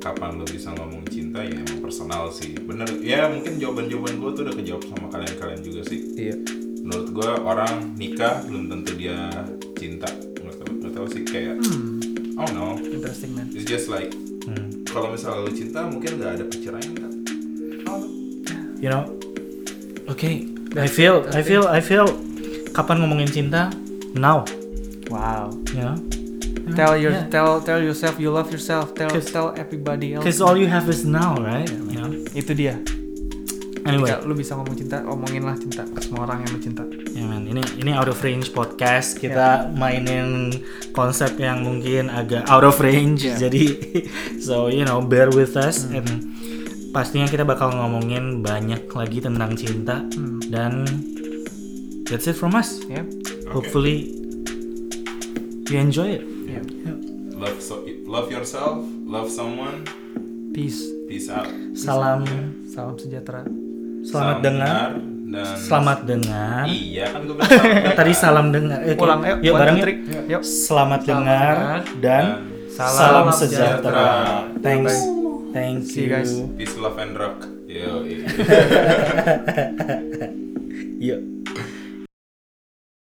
C: kapan lu bisa ngomong cinta ya emang personal sih. Bener, ya mungkin jawaban-jawaban gua tuh udah kejawab sama kalian-kalian juga sih.
B: Iya.
C: menurut gue orang nikah belum tentu dia cinta menurut gue nggak tahu sih kayak oh no
B: Interesting man.
C: it's just like
A: Hmm.
C: kalau misalnya lu cinta mungkin nggak ada perceraian kan
A: you know okay I feel I feel I feel kapan ngomongin cinta now
B: Wow.
A: you know
B: Tell your
A: Yeah.
B: tell tell yourself you love yourself. Tell
A: Cause-
B: tell everybody else.
A: because all you have is now right you know
B: Itu dia.
A: anyway
B: Ketika Ya, lu bisa ngomong cinta, omonginlah cinta ke semua orang yang lu cinta.
A: ya man, ini ini out of range podcast kita mainin konsep yang mungkin agak out of range jadi <laughs> so you know bear with us and pastinya kita bakal ngomongin banyak lagi tentang cinta dan that's it from us
B: Ya.
A: hopefully you enjoy it
B: Ya.
C: love so love yourself love someone
B: Peace.
C: peace out
A: salam
B: Salam sejahtera.
A: selamat dengar
C: dan
A: Selamat dengar.
C: iya kan gue bilang selamat dengar.
A: Tadi salam dengar. Eh,
B: Pulang ayo.
A: yuk
B: one,
A: bareng yuk.
B: two, three. Yuk.
A: Selamat dengar
F: dengar.
A: dan
B: Salam
A: salam
B: sejahtera.
A: sejahtera. Thanks. Thank
B: See you guys.
A: you.
C: peace love and rock yo